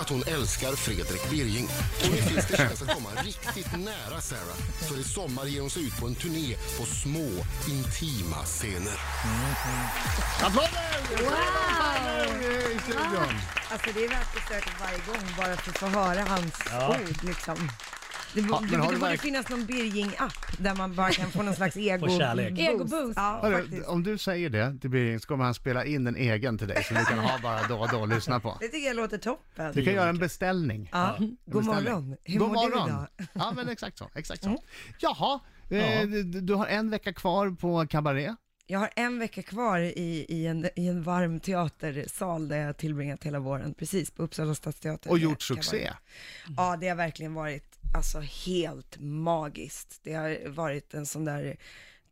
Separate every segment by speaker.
Speaker 1: att hon älskar Fredrik Birging. Och nu finns det chans att komma riktigt nära Sarah. För i sommar ger hon sig ut på en turné på små, intima scener.
Speaker 2: Applåder! Wow!
Speaker 3: Alltså det är värt besöket varje gång bara för att få höra hans ord liksom. Det, bo-
Speaker 2: Ja, men
Speaker 3: det,
Speaker 2: har
Speaker 3: det
Speaker 2: du
Speaker 3: borde
Speaker 2: verk-
Speaker 3: finnas någon Birging-app där man bara kan få någon slags ego...
Speaker 4: Få kärlek.
Speaker 3: boost.
Speaker 5: Egoboost.
Speaker 3: Ja,
Speaker 2: Hörru,
Speaker 3: faktiskt.
Speaker 2: om du säger det till Birging så kommer han spela in en egen till dig som du kan ha bara då och då och lyssna på.
Speaker 3: Det tycker jag låter toppen.
Speaker 2: Du kan göra en beställning.
Speaker 3: Ja. God
Speaker 2: Beställning.
Speaker 3: morgon. Hur
Speaker 2: God
Speaker 3: mår
Speaker 2: morgon.
Speaker 3: du idag? Mm.
Speaker 2: Ja, men exakt så. Exakt så. Jaha, eh, du- du har en vecka kvar på Cabaret.
Speaker 3: Jag har en vecka kvar i, i, en, i en varm teatersal där jag har tillbringat hela våren, precis på Uppsala stadsteater.
Speaker 2: Och
Speaker 3: Det
Speaker 2: gjort
Speaker 3: kan vara-
Speaker 2: succé.
Speaker 3: Ja, det har verkligen varit alltså, helt magiskt. Det har varit en sån där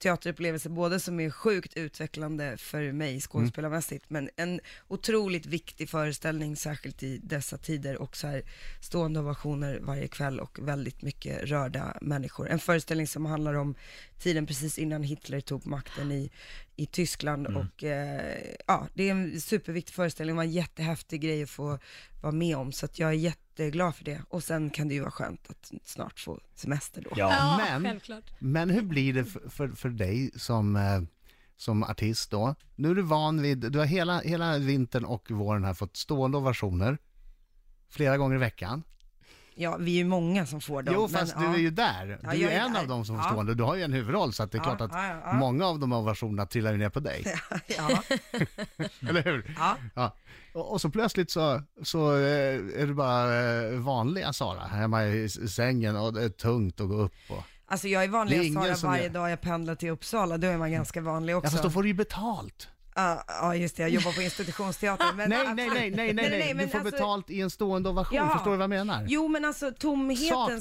Speaker 3: teaterupplevelse, både som är sjukt utvecklande för mig skådespelarmässigt, men en otroligt viktig föreställning, särskilt i dessa tider, och så här stående ovationer varje kväll och väldigt mycket rörda människor. En föreställning som handlar om tiden precis innan Hitler tog makten i, i Tyskland
Speaker 2: Mm.
Speaker 3: och eh, ja, det är en superviktig föreställning, det var en jättehäftig grej att få vara med om, så att jag är jätte jätteglad för det. Och sen kan det ju vara skönt att snart få semester då.
Speaker 4: Ja.
Speaker 5: Ja,
Speaker 2: Men-
Speaker 5: självklart.
Speaker 2: Men hur blir det för, för, för dig som, eh, som artist då? Nu är du van vid, du har hela, hela vintern och våren här fått stående ovationer flera gånger i veckan.
Speaker 3: Ja, vi är ju många som får dem.
Speaker 2: jo, fast
Speaker 3: ja.
Speaker 2: du är ju där.
Speaker 3: Ja,
Speaker 2: du är
Speaker 3: jag är
Speaker 2: en
Speaker 3: där.
Speaker 2: av dem som får
Speaker 3: Ja.
Speaker 2: stående. Du har ju en huvudroll, så att det är
Speaker 3: Ja,
Speaker 2: klart att
Speaker 3: ja, ja, ja.
Speaker 2: många av de här ovationerna trillar ju ner på dig.
Speaker 3: Ja,
Speaker 2: Eller hur?
Speaker 3: ja.
Speaker 2: Ja. Och, och så plötsligt så, så eh, är du bara eh, vanliga Sara hemma i s- sängen och det är tungt att gå upp och...
Speaker 3: Alltså jag är
Speaker 2: Det är
Speaker 3: vanlig
Speaker 2: ingen
Speaker 3: Sara
Speaker 2: som
Speaker 3: varje
Speaker 2: gör-
Speaker 3: dag jag pendlar till Uppsala, då är man ganska vanlig
Speaker 2: Ja,
Speaker 3: också.
Speaker 2: fast då får du ju betalt.
Speaker 3: Ja, ja, just det, jag jobbar på institutionsteatern. Men
Speaker 2: Nej, nej,
Speaker 3: absolut.
Speaker 2: nej, nej, nej, nej.
Speaker 3: men
Speaker 2: Du får
Speaker 3: alltså-
Speaker 2: betalt i en stående ovation,
Speaker 3: Jaha.
Speaker 2: förstår du vad jag menar?
Speaker 3: Jo, men alltså tomheten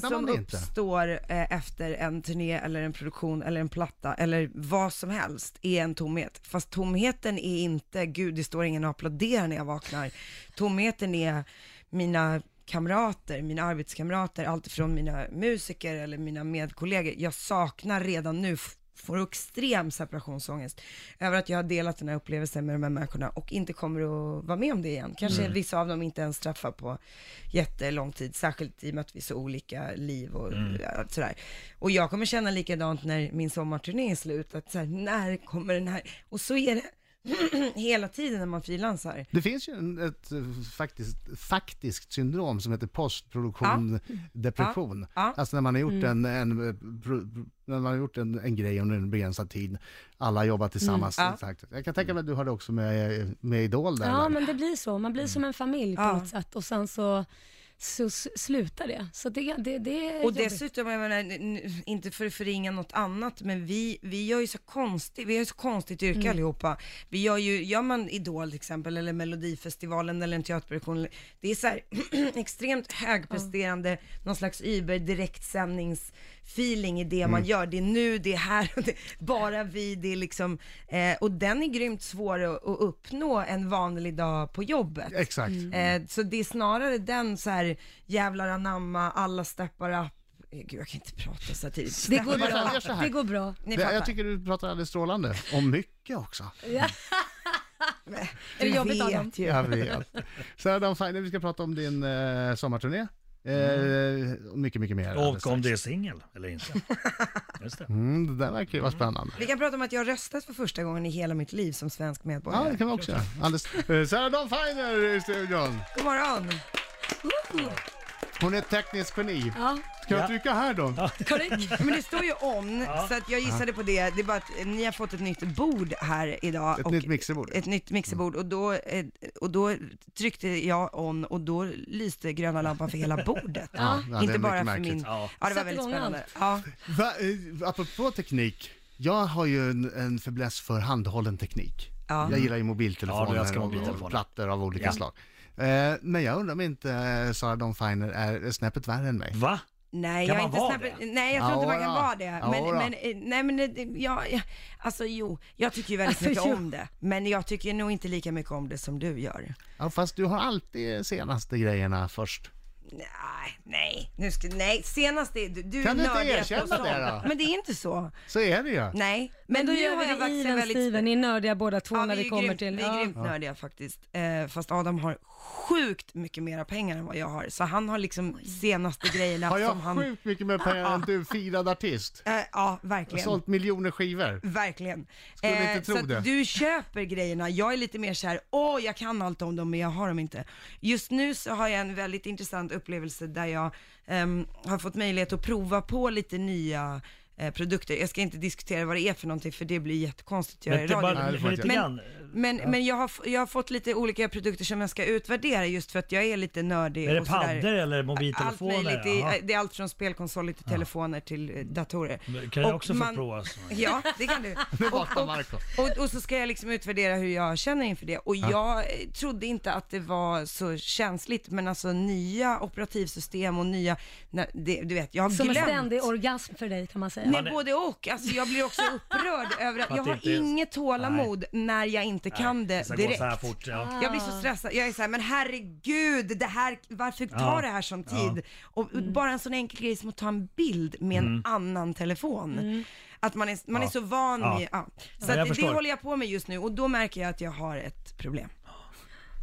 Speaker 2: Saknar man
Speaker 3: som
Speaker 2: det inte?
Speaker 3: uppstår eh, efter en turné eller en produktion eller en platta eller vad som helst är en tomhet. Fast tomheten är inte, gud det står ingen och applåderar när jag vaknar. Tomheten är mina kamrater, mina arbetskamrater, allt ifrån mina musiker eller mina medkollegor. Jag saknar redan nu f- får extrem separationsångest över att jag har delat den här upplevelsen med de här människorna och inte kommer att vara med om det igen. Kanske vissa av dem inte ens träffar på jättelång tid, särskilt i och med att vi är så olika liv och ja, sådär. Och jag kommer känna likadant när min sommarturné är slut, att så här, när kommer den här? Och så är det hela tiden när man frilansar.
Speaker 2: Det finns ju en, ett eh, faktiskt, faktiskt syndrom som heter postproduktion depression.
Speaker 3: Ja. Mm. Ja.
Speaker 2: Alltså när man har gjort, en, en, eh, pro- när man har gjort en, en grej under en begränsad tid, alla jobbar tillsammans.
Speaker 3: Mm. Ja.
Speaker 2: Exakt. Jag kan tänka mig att du har det också med, eh, med Idol där.
Speaker 5: Ja,
Speaker 2: eller?
Speaker 5: men det blir så. Man blir som en familj på
Speaker 3: Ja.
Speaker 5: något sätt och sen så, så s- slutar det. Så det, det, det är
Speaker 3: Och
Speaker 5: jobbigt.
Speaker 3: dessutom, jag menar, n- n- inte för att förringa något annat, men vi, vi gör ju så konstigt, vi har ju så konstigt yrke allihopa. Vi gör ju, gör man Idol till exempel, eller Melodifestivalen eller en teaterproduktion, det är så här extremt högpresterande, någon slags Uber direktsändningsfeeling i det man gör. Det är nu, det är här, och det är bara vi, det är liksom, eh, och den är grymt svår att, att uppnå en vanlig dag på jobbet.
Speaker 2: Exakt.
Speaker 5: Mm.
Speaker 3: Eh, så det är snarare den så här jävlar anamma, alla steppar upp. Eh, Gud, jag kan inte prata så här tidigt.
Speaker 5: det går
Speaker 2: Jag
Speaker 5: bra.
Speaker 2: gör så här.
Speaker 5: Det går bra.
Speaker 3: Ni
Speaker 2: Det-
Speaker 3: fattar.
Speaker 2: jag tycker du pratar alldeles strålande, och mycket också.
Speaker 5: Är det jobbigt Adam?
Speaker 3: vet ju.
Speaker 2: Jag vet. Sarah Dawn Finer, vi ska prata om din eh, sommarturné. Eh, och mycket, mycket mer. alldeles
Speaker 4: Och
Speaker 2: strax.
Speaker 4: om det är singel eller inte. Just det.
Speaker 2: Mm, det där verkar ju vara spännande.
Speaker 3: Vi kan prata om att jag har röstat för första gången i hela mitt liv som svensk
Speaker 2: Ja, det
Speaker 3: medborgare.
Speaker 2: kan man också göra. Alldeles. Eh, Sarah Dawn Finer i studion.
Speaker 3: God morgon!
Speaker 2: Hon är ett tekniskt geni.
Speaker 5: Ja,
Speaker 2: Ska jag
Speaker 4: Ja.
Speaker 2: trycka här då?
Speaker 5: korrekt.
Speaker 3: Men det står ju on, så att jag gissade på det. Det är bara att eh, ni har fått ett nytt bord här idag.
Speaker 2: Ett
Speaker 3: och-
Speaker 2: nytt mixerbord.
Speaker 3: Ett nytt mixerbord och då, eh, och då tryckte jag on och då lyste gröna lampan för hela bordet.
Speaker 2: Ja, ja, det är
Speaker 3: Inte bara
Speaker 2: mycket
Speaker 3: för
Speaker 2: märkligt.
Speaker 3: min...
Speaker 4: Ja.
Speaker 3: Ja, det var
Speaker 5: Sätt
Speaker 3: väldigt
Speaker 5: igång
Speaker 3: spännande. Ja.
Speaker 2: Va, eh, apropå teknik, jag har ju en, en fäbless för handhållen teknik.
Speaker 3: Ja.
Speaker 2: Jag gillar ju
Speaker 4: Ja,
Speaker 2: mobiltelefoner
Speaker 4: du älskar
Speaker 2: och,
Speaker 4: mobiltelefoner.
Speaker 2: och plattor av olika
Speaker 4: Ja.
Speaker 2: slag. Eh, men jag undrar om inte eh, Sarah Dawn Finer är snäppet värre än mig.
Speaker 4: Va?
Speaker 3: Nej,
Speaker 4: Kan
Speaker 3: jag, är
Speaker 4: man
Speaker 3: inte
Speaker 4: vara
Speaker 3: snabbt,
Speaker 4: det?
Speaker 3: nej, jag tror inte man kan
Speaker 2: Jodå.
Speaker 3: vara det. Men,
Speaker 2: Jodå.
Speaker 3: men, eh, nej, men det- det- ja, ja, alltså jo, jag tycker ju väldigt
Speaker 5: Alltså,
Speaker 3: mycket
Speaker 5: jo.
Speaker 3: om det. Men jag tycker nog inte lika mycket om det som du gör.
Speaker 2: Ja, fast du har alltid senaste grejerna först.
Speaker 3: Nej, nej. Nu ska, nej. Senast det, du, du
Speaker 2: Kan du inte
Speaker 3: nördiga på
Speaker 2: erkänna
Speaker 3: sånt.
Speaker 2: det då?
Speaker 3: Men det är inte så.
Speaker 2: Så är det ju.
Speaker 3: Nej.
Speaker 5: Men,
Speaker 3: Men,
Speaker 5: då
Speaker 3: nu
Speaker 5: gör
Speaker 3: har jag
Speaker 5: vi det
Speaker 3: varit
Speaker 5: Ilan,
Speaker 3: en väldigt...
Speaker 5: Steven, ni är nördiga båda två när
Speaker 3: vi
Speaker 5: vi
Speaker 3: är
Speaker 5: kommer
Speaker 3: grymt,
Speaker 5: till...
Speaker 3: Vi är grymt nördiga faktiskt. Eh, fast Adam har sjukt mycket mera pengar än vad jag har. Så han har liksom senaste grejerna
Speaker 2: Har
Speaker 3: som
Speaker 2: jag
Speaker 3: han...
Speaker 2: sjukt mycket mer pengar än du, firad artist?
Speaker 3: Eh, ja,
Speaker 2: Jag har
Speaker 3: verkligen.
Speaker 2: sålt miljoner skivor.
Speaker 3: Verkligen. Eh,
Speaker 2: Skulle inte tro
Speaker 3: så att
Speaker 2: det.
Speaker 3: du köper grejerna. Jag är lite mer så här, åh jag kan allt om dem men jag har dem inte. Just nu så har jag en väldigt intressant upplevelse där jag ehm, har fått möjlighet att prova på lite nya eh, produkter. Jag ska inte diskutera vad det är för någonting för det blir jättekonstigt att göra
Speaker 4: Men
Speaker 3: i
Speaker 4: det är
Speaker 3: radio.
Speaker 4: bara
Speaker 2: Nej, det får
Speaker 4: lite
Speaker 2: jag
Speaker 4: grann.
Speaker 3: Men, men jag, har, f- jag har fått lite olika produkter som jag ska utvärdera just för att jag är lite nördig.
Speaker 4: Är det
Speaker 3: och sådär.
Speaker 4: paddor eller
Speaker 3: Allt
Speaker 4: mobiltelefoner?
Speaker 3: möjligt. Det
Speaker 4: Jaha.
Speaker 3: är, det är allt från spelkonsoler till telefoner till eh, datorer.
Speaker 4: Men Kan jag
Speaker 3: Och
Speaker 4: också
Speaker 3: man-
Speaker 4: få prova? såna grejer?
Speaker 3: Ja, det kan du.
Speaker 2: Nu vaknar Marco.
Speaker 3: Och, och så ska jag liksom utvärdera hur jag känner inför det. Och jag eh, trodde inte att det var så känsligt, men alltså nya operativsystem och nya, nej, det, du vet, jag har
Speaker 5: Som en
Speaker 3: glömt.
Speaker 5: ständig orgasm för dig kan man säga.
Speaker 3: Nej,
Speaker 4: Man är-
Speaker 3: både och. Alltså, jag blir också upprörd över att
Speaker 4: Att
Speaker 3: jag
Speaker 4: det
Speaker 3: har
Speaker 4: inte är-
Speaker 3: inget tålamod när jag inte kan det
Speaker 4: ska gå
Speaker 3: direkt.
Speaker 4: så här fort. Ja.
Speaker 3: Jag blir så stressad. Jag är så här, men herregud, det här, varför tar
Speaker 4: Ja.
Speaker 3: det här sån tid? Och och bara en sån enkel grej som att ta en bild med en annan telefon. Att man är, man är så van
Speaker 4: Mm. Ja.
Speaker 3: vid, ja. Så
Speaker 4: Ja, jag
Speaker 3: att det, det
Speaker 4: förstår.
Speaker 3: håller jag på med just nu och då märker jag att jag har ett problem.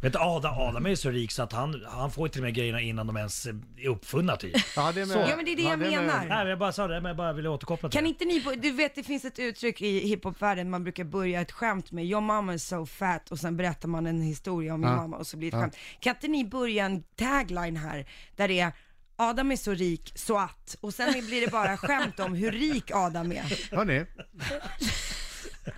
Speaker 4: Vet du, Adam, Adam är ju så rik så att han, han får ju till och med grejerna innan de ens är uppfunna typ.
Speaker 2: Ja, det är
Speaker 3: Ja, men det är det jag
Speaker 2: är med-
Speaker 4: Nej,
Speaker 3: menar.
Speaker 4: men jag bara sa det, men jag bara ville återkoppla till
Speaker 3: Kan
Speaker 4: det.
Speaker 3: inte ni, bo- du vet det finns ett uttryck i hiphopvärlden man brukar börja ett skämt med, your mama is so fat och sen berättar man en historia om min
Speaker 2: Ja.
Speaker 3: mamma och så blir det ett skämt. Kan inte ni börja en tagline här där det är Adam är så rik så att och sen blir det bara skämt om hur rik Adam är.
Speaker 2: Hörni,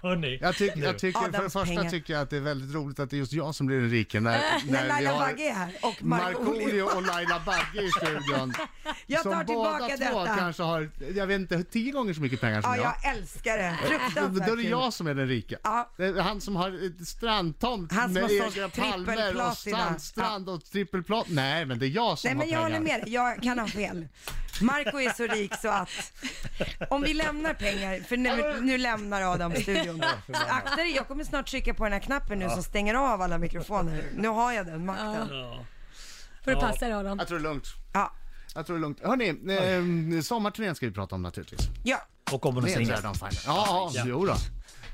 Speaker 4: Hörrni,
Speaker 2: jag, tyck, jag tycker, för det
Speaker 3: Adams
Speaker 2: första
Speaker 3: pengar. Äh,
Speaker 2: tycker jag att det är väldigt roligt att det är just jag som blir den rike när,
Speaker 3: När
Speaker 2: vi
Speaker 3: Laila
Speaker 2: har
Speaker 3: Bagge är här och Markoolio.
Speaker 2: Markoolio och Laila Bagge i studion.
Speaker 3: Jag
Speaker 2: som
Speaker 3: tar
Speaker 2: båda
Speaker 3: tillbaka
Speaker 2: två
Speaker 3: detta.
Speaker 2: kanske har, jag vet inte, tio gånger så mycket pengar som
Speaker 3: Ja,
Speaker 2: jag.
Speaker 3: jag älskar det.
Speaker 2: Då,
Speaker 3: Fruktansvärt
Speaker 2: då är det
Speaker 3: kul.
Speaker 2: jag som är den rika.
Speaker 3: Ja.
Speaker 2: Det är han som har ett strandtomt
Speaker 3: Han som
Speaker 2: med
Speaker 3: har sålt
Speaker 2: egna palmer och
Speaker 3: trippelplatina.
Speaker 2: strand, strand och trippelplan. Nej, men det är jag som
Speaker 3: Nej men jag
Speaker 2: har
Speaker 3: håller
Speaker 2: pengar.
Speaker 3: med dig, jag kan ha fel. Marco är så rik så att om vi lämnar pengar, för nu, nu lämnar Adam studion. Akta dig, jag kommer snart trycka på den här knappen nu som stänger av alla mikrofoner. Nu har jag den makten.
Speaker 5: Får du passa dig Adam?
Speaker 2: Jag tror det är lugnt.
Speaker 3: Ja,
Speaker 2: Jag tror det är lugnt. Hörni, eh, sommarturnén ska vi prata om naturligtvis.
Speaker 3: ja.
Speaker 4: och kommer någon
Speaker 2: Det är
Speaker 4: singel.
Speaker 2: Träd on Fire. Alltså, Ja, ja. jo då.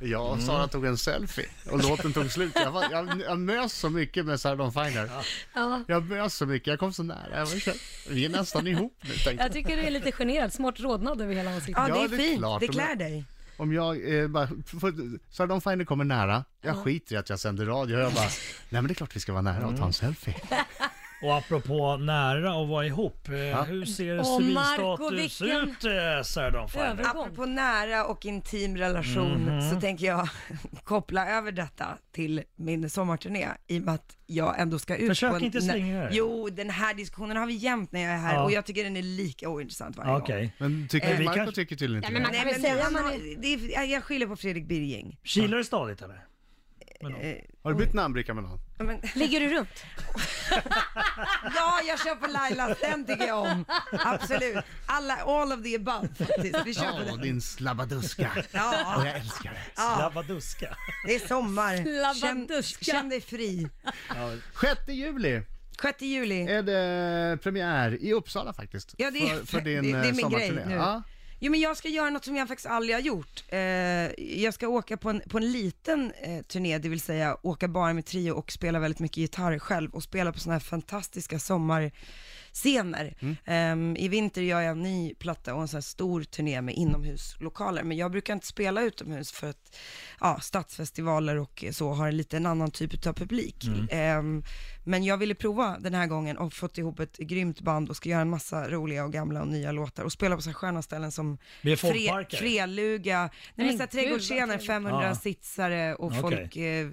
Speaker 2: Jag och Sara tog en selfie och låten tog slut. Jag, var, jag, jag mös så mycket med Sarah Dawn Finer.
Speaker 5: Ja.
Speaker 2: Jag mös så mycket, jag kom så nära. Jag var så, vi är nästan ihop nu, tänkte jag.
Speaker 5: Jag tycker du är lite generad, smart rodnad över hela ansiktet.
Speaker 3: ja det
Speaker 2: Ja,
Speaker 3: är
Speaker 2: det är
Speaker 3: fint,
Speaker 2: klart.
Speaker 3: det klär dig.
Speaker 2: Om jag eh, bara, för, Sarah Dawn Finer kommer nära, jag skiter i att jag sänder radio. Jag bara, nej men det är klart vi ska vara nära och ta en selfie.
Speaker 4: Och apropå nära och vara ihop, eh, hur ser
Speaker 5: Åh, Marco,
Speaker 4: civilstatus
Speaker 5: vilken-
Speaker 4: ut eh, Sarah Dawn Finer?
Speaker 5: Över- Övergång.
Speaker 3: Apropå nära och intim relation så tänker jag koppla över detta till min sommarturné i och med att jag ändå ska ut
Speaker 4: Försök
Speaker 3: på en...
Speaker 4: inte slänga det.
Speaker 3: Jo, den här diskussionen har vi jämt när jag är här
Speaker 4: Ja.
Speaker 3: och jag tycker den är lika ointressant varje
Speaker 4: Okej.
Speaker 3: gång.
Speaker 2: Men
Speaker 4: Men
Speaker 2: tycker,
Speaker 4: vi
Speaker 2: Marco
Speaker 4: kanske-
Speaker 2: tycker tydligen inte det.
Speaker 3: Nej,
Speaker 5: väl
Speaker 3: men
Speaker 5: säga
Speaker 3: det,
Speaker 5: man
Speaker 3: man,
Speaker 5: är-
Speaker 3: det är, jag skyller på Fredrik Birging.
Speaker 4: Kilar du stadigt eller? Men,
Speaker 2: Har du bytt namnbricka med någon?
Speaker 3: Ja, Men,
Speaker 5: Ligger du runt?
Speaker 3: ja, jag kör på Lailas, den tycker jag om. Absolut. Alla, all of the above faktiskt. Vi kör på
Speaker 2: Ja,
Speaker 3: den.
Speaker 2: din slabbaduska. Och
Speaker 3: Ja,
Speaker 2: jag älskar det.
Speaker 3: ja,
Speaker 4: Labbaduska.
Speaker 3: det är sommar. Känn,
Speaker 5: Labbaduska.
Speaker 3: känn dig fri.
Speaker 2: 6 juli.
Speaker 3: 6 juli.
Speaker 2: är det premiär i Uppsala faktiskt.
Speaker 3: Ja, det är-
Speaker 2: för, för din
Speaker 3: det- det är min
Speaker 2: sommarturné.
Speaker 3: grej nu.
Speaker 2: Ja.
Speaker 3: Jo, men jag ska göra något som jag faktiskt aldrig har gjort. Eh, jag ska åka på en, på en liten eh, turné, det vill säga åka bara med trio och spela väldigt mycket gitarr själv och spela på sådana här fantastiska sommarscener. Eh, I vinter gör jag en ny platta och en sån här stor turné med inomhuslokaler, men jag brukar inte spela utomhus för att ja, stadsfestivaler och så har en lite en annan typ av publik.
Speaker 4: Mm.
Speaker 3: Eh, men jag ville prova den här gången och fått ihop ett grymt band och ska göra en massa roliga och gamla och nya låtar och spela på så här sköna ställen som
Speaker 4: Med
Speaker 3: Fre,
Speaker 4: folkparker?
Speaker 3: Freluga, nej, men
Speaker 5: Men
Speaker 3: så här
Speaker 5: gud, vad
Speaker 3: trädgårdsscener,
Speaker 5: trevligt.
Speaker 3: 500
Speaker 4: Ja.
Speaker 3: sitsare och
Speaker 4: Okej.
Speaker 3: folk, eh,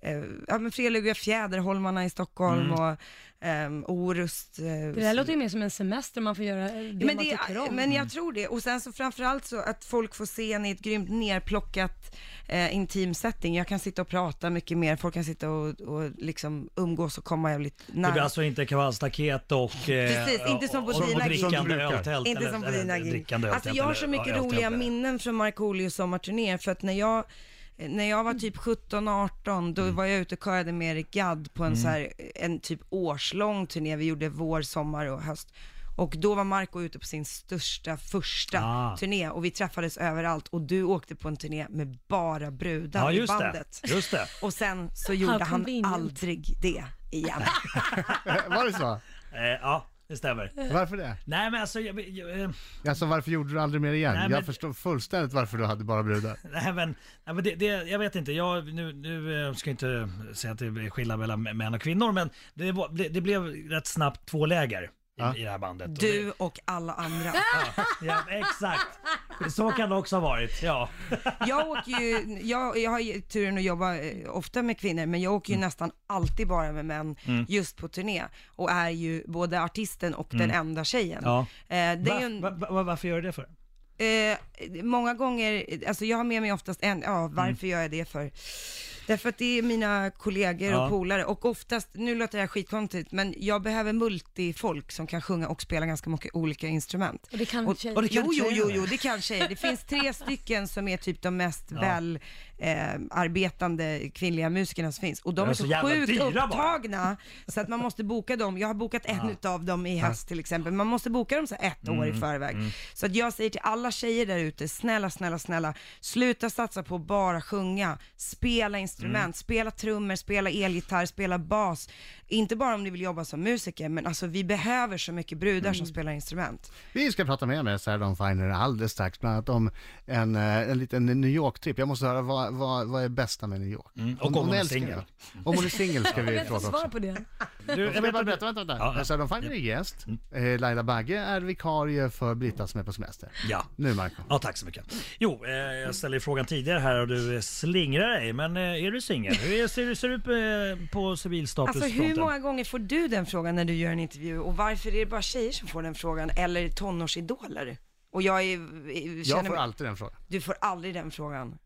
Speaker 3: eh, ja men Freluga, Fjäderholmarna i
Speaker 4: Mm.
Speaker 3: Stockholm och ehm, Orust. Eh,
Speaker 5: Det där låter ju mer som en semester, man får göra det
Speaker 3: men,
Speaker 5: man
Speaker 3: det,
Speaker 5: tycker om.
Speaker 3: men jag tror det. Och sen så framförallt så att folk får se en i ett grymt nerplockat eh, intim setting. Jag kan sitta och prata mycket mer, folk kan sitta och, och liksom umgås och komma jävligt
Speaker 4: Det
Speaker 3: nära.
Speaker 4: blir alltså inte kavallstaket och... eh,
Speaker 3: Precis, inte som på
Speaker 4: och- och- och
Speaker 3: dina gig.
Speaker 4: drickande
Speaker 2: Som brukar.
Speaker 4: öltält
Speaker 3: Inte
Speaker 4: eller-
Speaker 3: som på
Speaker 4: eller
Speaker 3: dina gig.
Speaker 4: drickande
Speaker 3: Alltså
Speaker 4: öltält
Speaker 3: jag har
Speaker 4: eller-
Speaker 3: så mycket
Speaker 4: ja, öltält
Speaker 3: roliga
Speaker 4: eller-
Speaker 3: minnen från Markoolios sommarturné för att när jag eh, när jag var typ 17-18,
Speaker 4: Mm.
Speaker 3: då var jag ute och körade med Eric Gadd på en, så här, en typ årslång turné. Vi gjorde vår, sommar och höst. Och då var Marco ute på sin största första
Speaker 4: Ah.
Speaker 3: turné och vi träffades överallt och du åkte på en turné med bara brudar
Speaker 4: Ja,
Speaker 3: i
Speaker 4: just det.
Speaker 3: bandet.
Speaker 4: Just det.
Speaker 3: Och sen så gjorde han
Speaker 5: convenient.
Speaker 3: aldrig det igen.
Speaker 2: Var det så?
Speaker 4: Eh, ja, det stämmer.
Speaker 2: Varför det?
Speaker 4: Nej men alltså, jag, jag, eh,
Speaker 2: Alltså varför gjorde du aldrig mer igen?
Speaker 4: Nej, men-
Speaker 2: Jag förstår fullständigt varför du hade bara brudar.
Speaker 4: nej men, nej, men det, det, jag vet inte. Jag, nu, nu eh, ska jag inte säga att det är skillnad mellan män och kvinnor, men det, var- det, det blev rätt snabbt två läger i,
Speaker 2: Ja.
Speaker 4: i det här bandet. Och
Speaker 3: Du och alla andra.
Speaker 4: Det, ja, exakt. Så kan det också ha varit, ja.
Speaker 3: Jag, åker ju, jag, jag har ju turen att jobba eh, ofta med kvinnor, men jag åker ju nästan alltid bara med män just på turné och är ju både artisten och den enda tjejen.
Speaker 4: Ja.
Speaker 3: Eh, det är ju en,
Speaker 4: Va, va, va, varför gör du det för?
Speaker 3: Eh, många gånger, alltså jag har med mig oftast en, ja varför gör jag det för? Därför att det är mina kollegor
Speaker 4: Ja.
Speaker 3: och polare och oftast, nu låter det här skitkontigt, men jag behöver multifolk som kan sjunga och spela ganska mycket olika instrument.
Speaker 5: Och det kan
Speaker 3: och,
Speaker 5: tjejer.
Speaker 3: och det
Speaker 4: kan
Speaker 3: jo, jo,
Speaker 4: tjejer.
Speaker 3: jo, jo, det kan tjejer. Det finns tre stycken som är typ de mest väl eh, arbetande kvinnliga musikerna som finns. Och de
Speaker 4: De
Speaker 3: är,
Speaker 4: är så
Speaker 3: så,
Speaker 4: jävla
Speaker 3: sjukt
Speaker 4: dyra bara.
Speaker 3: upptagna så att man måste boka dem. Jag har bokat en utav dem i höst till exempel. Man måste boka dem så här ett år i
Speaker 4: Mm,
Speaker 3: förväg. Så att jag säger till alla tjejer där ute, snälla, snälla, snälla, sluta satsa på att bara sjunga. Spela instrument,
Speaker 4: Mm.
Speaker 3: spela trummor, spela elgitarr, spela bas. Inte bara om ni vill jobba som musiker, men alltså vi behöver så mycket brudar
Speaker 4: Mm.
Speaker 3: som spelar instrument.
Speaker 2: Vi ska prata mer med Sarah Dawn Finer alldeles strax, bland annat om en, eh, en liten New York-trip. Jag måste höra, vad, vad, vad är bästa med New York?
Speaker 4: Mm, och om hon är
Speaker 2: älskar
Speaker 4: singel.
Speaker 2: det. Om hon är singel ska
Speaker 5: Jag
Speaker 2: vi
Speaker 5: vet inte
Speaker 2: prata
Speaker 5: svar
Speaker 2: också.
Speaker 5: på det.
Speaker 4: Du,
Speaker 2: Jag vill bara berätta, vänta,
Speaker 4: Ja, Mm.
Speaker 2: vänta.
Speaker 4: ja.
Speaker 2: Sarah Dawn Finer är gäst. Eh, Laila Bagge är vikarie för Britta som är på semester.
Speaker 4: Ja.
Speaker 2: Nu Marco.
Speaker 4: Ja, tack så mycket. Jo, eh, jag ställde ju frågan tidigare här och du eh, slingrar dig, men eh, är du singel? Hur är- ser, du- ser du ut eh, på
Speaker 3: Alltså
Speaker 4: civilstatusfronten?
Speaker 3: hur många gånger får du den frågan när du gör en intervju och varför är det bara tjejer som får den frågan eller tonårsidoler? Och jag är, känner
Speaker 2: Jag får
Speaker 3: mig-
Speaker 2: alltid den frågan.
Speaker 3: Du får aldrig den frågan.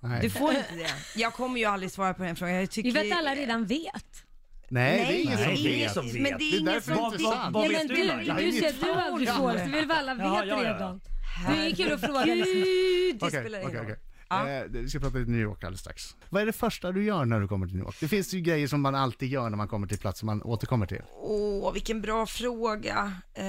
Speaker 2: Nej.
Speaker 3: Du får inte det. Jag kommer ju aldrig svara på den frågan. Jag tycker
Speaker 5: Vi vet alla redan vet.
Speaker 2: Nej, det är ingen
Speaker 4: Nej,
Speaker 2: som
Speaker 4: det är ingen
Speaker 2: vet.
Speaker 4: som vet.
Speaker 3: Men det
Speaker 2: Det
Speaker 3: är
Speaker 2: är
Speaker 3: ingen
Speaker 2: därför
Speaker 3: som...
Speaker 2: inte- intressant.
Speaker 4: Vad
Speaker 5: Ja,
Speaker 4: vet
Speaker 5: men
Speaker 4: du,
Speaker 5: du,
Speaker 4: Laila?
Speaker 5: du säger att
Speaker 3: inte
Speaker 5: du aldrig
Speaker 3: frågan.
Speaker 5: får, så vi väl alla vet
Speaker 4: Ja, ja, ja.
Speaker 5: redan. Det är kul att fråga.
Speaker 3: Alltså,
Speaker 5: liksom.
Speaker 3: Gud, det
Speaker 2: Okej,
Speaker 3: spelar ingen
Speaker 2: okej,
Speaker 3: roll.
Speaker 2: okej.
Speaker 3: Ja.
Speaker 2: Eh, det- Vi ska prata lite New York alldeles strax. Vad är det första du gör när du kommer till New York? Det finns ju grejer som man alltid gör när man kommer till platser man återkommer till.
Speaker 3: Åh, vilken bra fråga. Eh,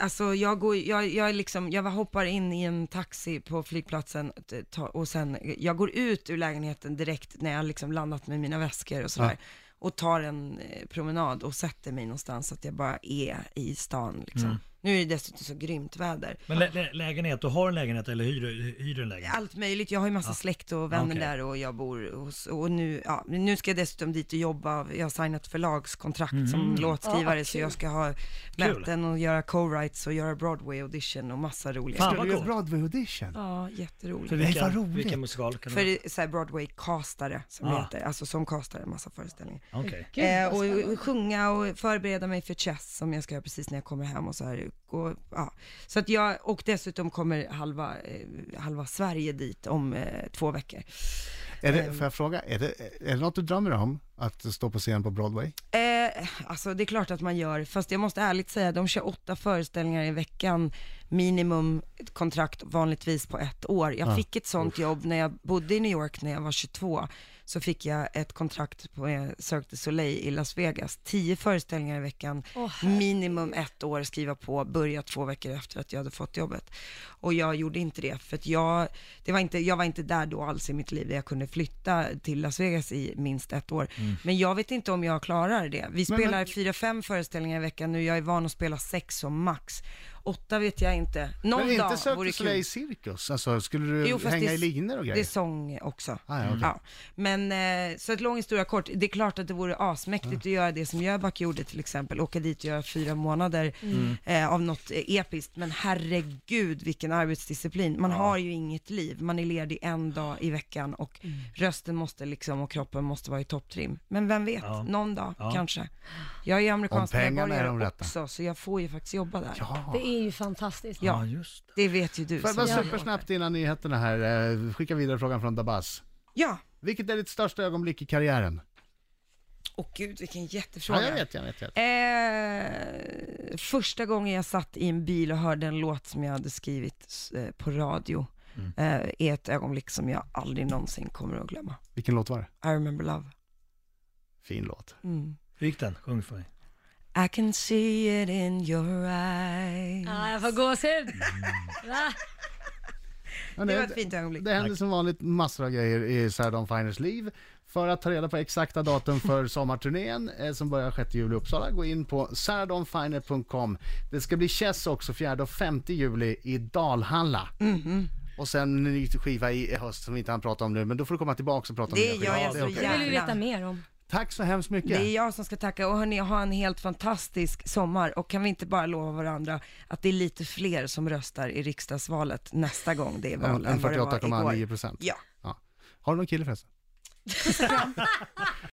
Speaker 3: alltså jag, går, jag, jag, är liksom, jag hoppar in i en taxi på flygplatsen t- ta- och sen, jag går ut ur lägenheten direkt när jag liksom landat med mina väskor och sådär. Och tar en eh, promenad och sätter mig någonstans så att jag bara är i stan.
Speaker 2: Mm.
Speaker 3: Liksom. Nu är det dessutom så grymt väder.
Speaker 4: Men lä lä lägenhet, du har en lägenhet eller hyr, hyr en lägenhet?
Speaker 3: Allt möjligt. Jag har ju massa släkt och vänner
Speaker 4: Okej.
Speaker 3: där och jag bor hos, och nu, ja, nu ska jag dessutom dit och jobba. Jag har signat förlagskontrakt
Speaker 4: Mm.
Speaker 3: som låtskrivare
Speaker 5: Ah,
Speaker 3: så
Speaker 5: kul.
Speaker 3: jag ska ha möten och göra co-writes och göra Broadway-audition och massa roliga
Speaker 4: Fan,
Speaker 2: Ska
Speaker 4: vad
Speaker 2: du göra
Speaker 4: coolt.
Speaker 2: Broadway-audition?
Speaker 3: Ja, jätteroligt.
Speaker 4: För
Speaker 2: Nej,
Speaker 4: vilken,
Speaker 2: vad roligt.
Speaker 4: vilken musikal kan du...
Speaker 3: För så här Broadway-castare som
Speaker 4: Ah.
Speaker 3: det heter, alltså som castare, massa föreställningar.
Speaker 4: Okej.
Speaker 5: Gud, vad
Speaker 3: eh, och,
Speaker 5: spännande.
Speaker 3: och sjunga och förbereda mig för chess som jag ska göra precis när jag kommer hem och så här. Och, ja. så att jag, och dessutom kommer halva, eh, halva Sverige dit om eh, två veckor.
Speaker 2: Är
Speaker 3: Eh.
Speaker 2: det, får jag fråga, är det, är det något du drömmer om? Att stå på scen på Broadway?
Speaker 3: Eh, alltså det är klart att man gör, fast jag måste ärligt säga, de kör åtta föreställningar i veckan, minimum ett kontrakt vanligtvis på ett år. Jag fick ett sånt jobb när jag bodde i New York när jag var 22, så fick jag ett kontrakt på eh, Cirque du Soleil i Las Vegas, tio föreställningar i veckan,
Speaker 5: Åh,
Speaker 3: minimum ett år skriva på, börja två veckor efter att jag hade fått jobbet. Och jag gjorde inte det, för att jag, det var inte, jag var inte där då alls i mitt liv, där jag kunde flytta till Las Vegas i minst ett år. Men jag vet inte om jag klarar det. Vi
Speaker 2: Mm. Men-
Speaker 3: spelar
Speaker 2: men-
Speaker 3: fyra, fem föreställningar i veckan nu, jag är van att spela sex som max. Åtta vet jag inte. Någon
Speaker 2: Men inte
Speaker 3: dag
Speaker 2: Cirque
Speaker 3: vore
Speaker 2: du
Speaker 3: kul.
Speaker 2: Soleil cirkus? Alltså, skulle du
Speaker 3: Jo, fast
Speaker 2: hänga
Speaker 3: det-
Speaker 2: i linor och
Speaker 3: Det är
Speaker 2: grejer?
Speaker 3: sång också.
Speaker 2: Ah, ja, okej.
Speaker 3: ja. Men eh, så ett lång historia kort, det är klart att det vore asmäktigt att göra det som Jöback gjorde till exempel, åka dit och göra fyra månader
Speaker 2: Mm.
Speaker 3: eh, av något eh, episkt. Men herregud vilken arbetsdisciplin, man har ju inget liv, man är ledig en dag i veckan och
Speaker 2: Mm.
Speaker 3: rösten måste liksom och kroppen måste vara i topptrim. Men vem vet,
Speaker 4: Ja.
Speaker 3: någon dag
Speaker 4: Ja.
Speaker 3: kanske. Jag är ju amerikansk
Speaker 2: Om pengarna är de
Speaker 3: medborgare
Speaker 2: rätta.
Speaker 3: också, så jag får ju faktiskt jobba där.
Speaker 2: Ja.
Speaker 5: Det är ju fantastiskt.
Speaker 4: Ja,
Speaker 3: Ja.
Speaker 4: just det.
Speaker 3: Det vet ju du.
Speaker 2: Får jag bara
Speaker 3: som-
Speaker 2: supersnabbt innan nyheterna här, eh, skicka vidare frågan från Dabas.
Speaker 3: Ja,
Speaker 2: Vilket är ditt största ögonblick i karriären?
Speaker 3: och gud vilken jättefråga.
Speaker 2: Ja, jag vet, jag vet. Jag vet.
Speaker 3: Eh, första gången jag satt i en bil och hörde en låt som jag hade skrivit eh, på radio. eh, är ett ögonblick som jag aldrig någonsin kommer att glömma.
Speaker 2: Vilken låt var det?
Speaker 3: I remember love.
Speaker 2: Fin låt.
Speaker 3: Mm.
Speaker 4: Hur gick den? Sjung för mig.
Speaker 3: I can see it in your eyes.
Speaker 5: Ja, jag får gåshud. Va?
Speaker 2: Ja,
Speaker 3: Det
Speaker 2: nej,
Speaker 3: var ett fint ögonblick.
Speaker 2: Det händer som vanligt massor av grejer i Sarah Finers liv. För att ta reda på exakta datum för sommarturnén eh, som börjar 6 juli i Uppsala, gå in på sarahdawnfiner.com. Det ska bli Chess också 4 och 5 juli i Dalhalla.
Speaker 3: Mhm.
Speaker 2: Och sen en ny skiva i höst som vi inte hann prata om nu, men då får du komma tillbaka och prata om
Speaker 3: Det
Speaker 2: nya
Speaker 3: gör
Speaker 2: skivor. Det
Speaker 3: jag så
Speaker 2: är okej.
Speaker 5: Det vill vi
Speaker 3: Jävlar.
Speaker 5: veta mer om.
Speaker 2: Tack så hemskt mycket.
Speaker 3: Det är jag som ska tacka och hörni, ha en helt fantastisk sommar och kan vi inte bara lova varandra att det är lite fler som röstar i riksdagsvalet nästa gång det är val
Speaker 2: En- en
Speaker 3: än vad det var igår.
Speaker 2: 48,9 procent.
Speaker 3: Ja.
Speaker 2: Ja. Har du någon kille förresten?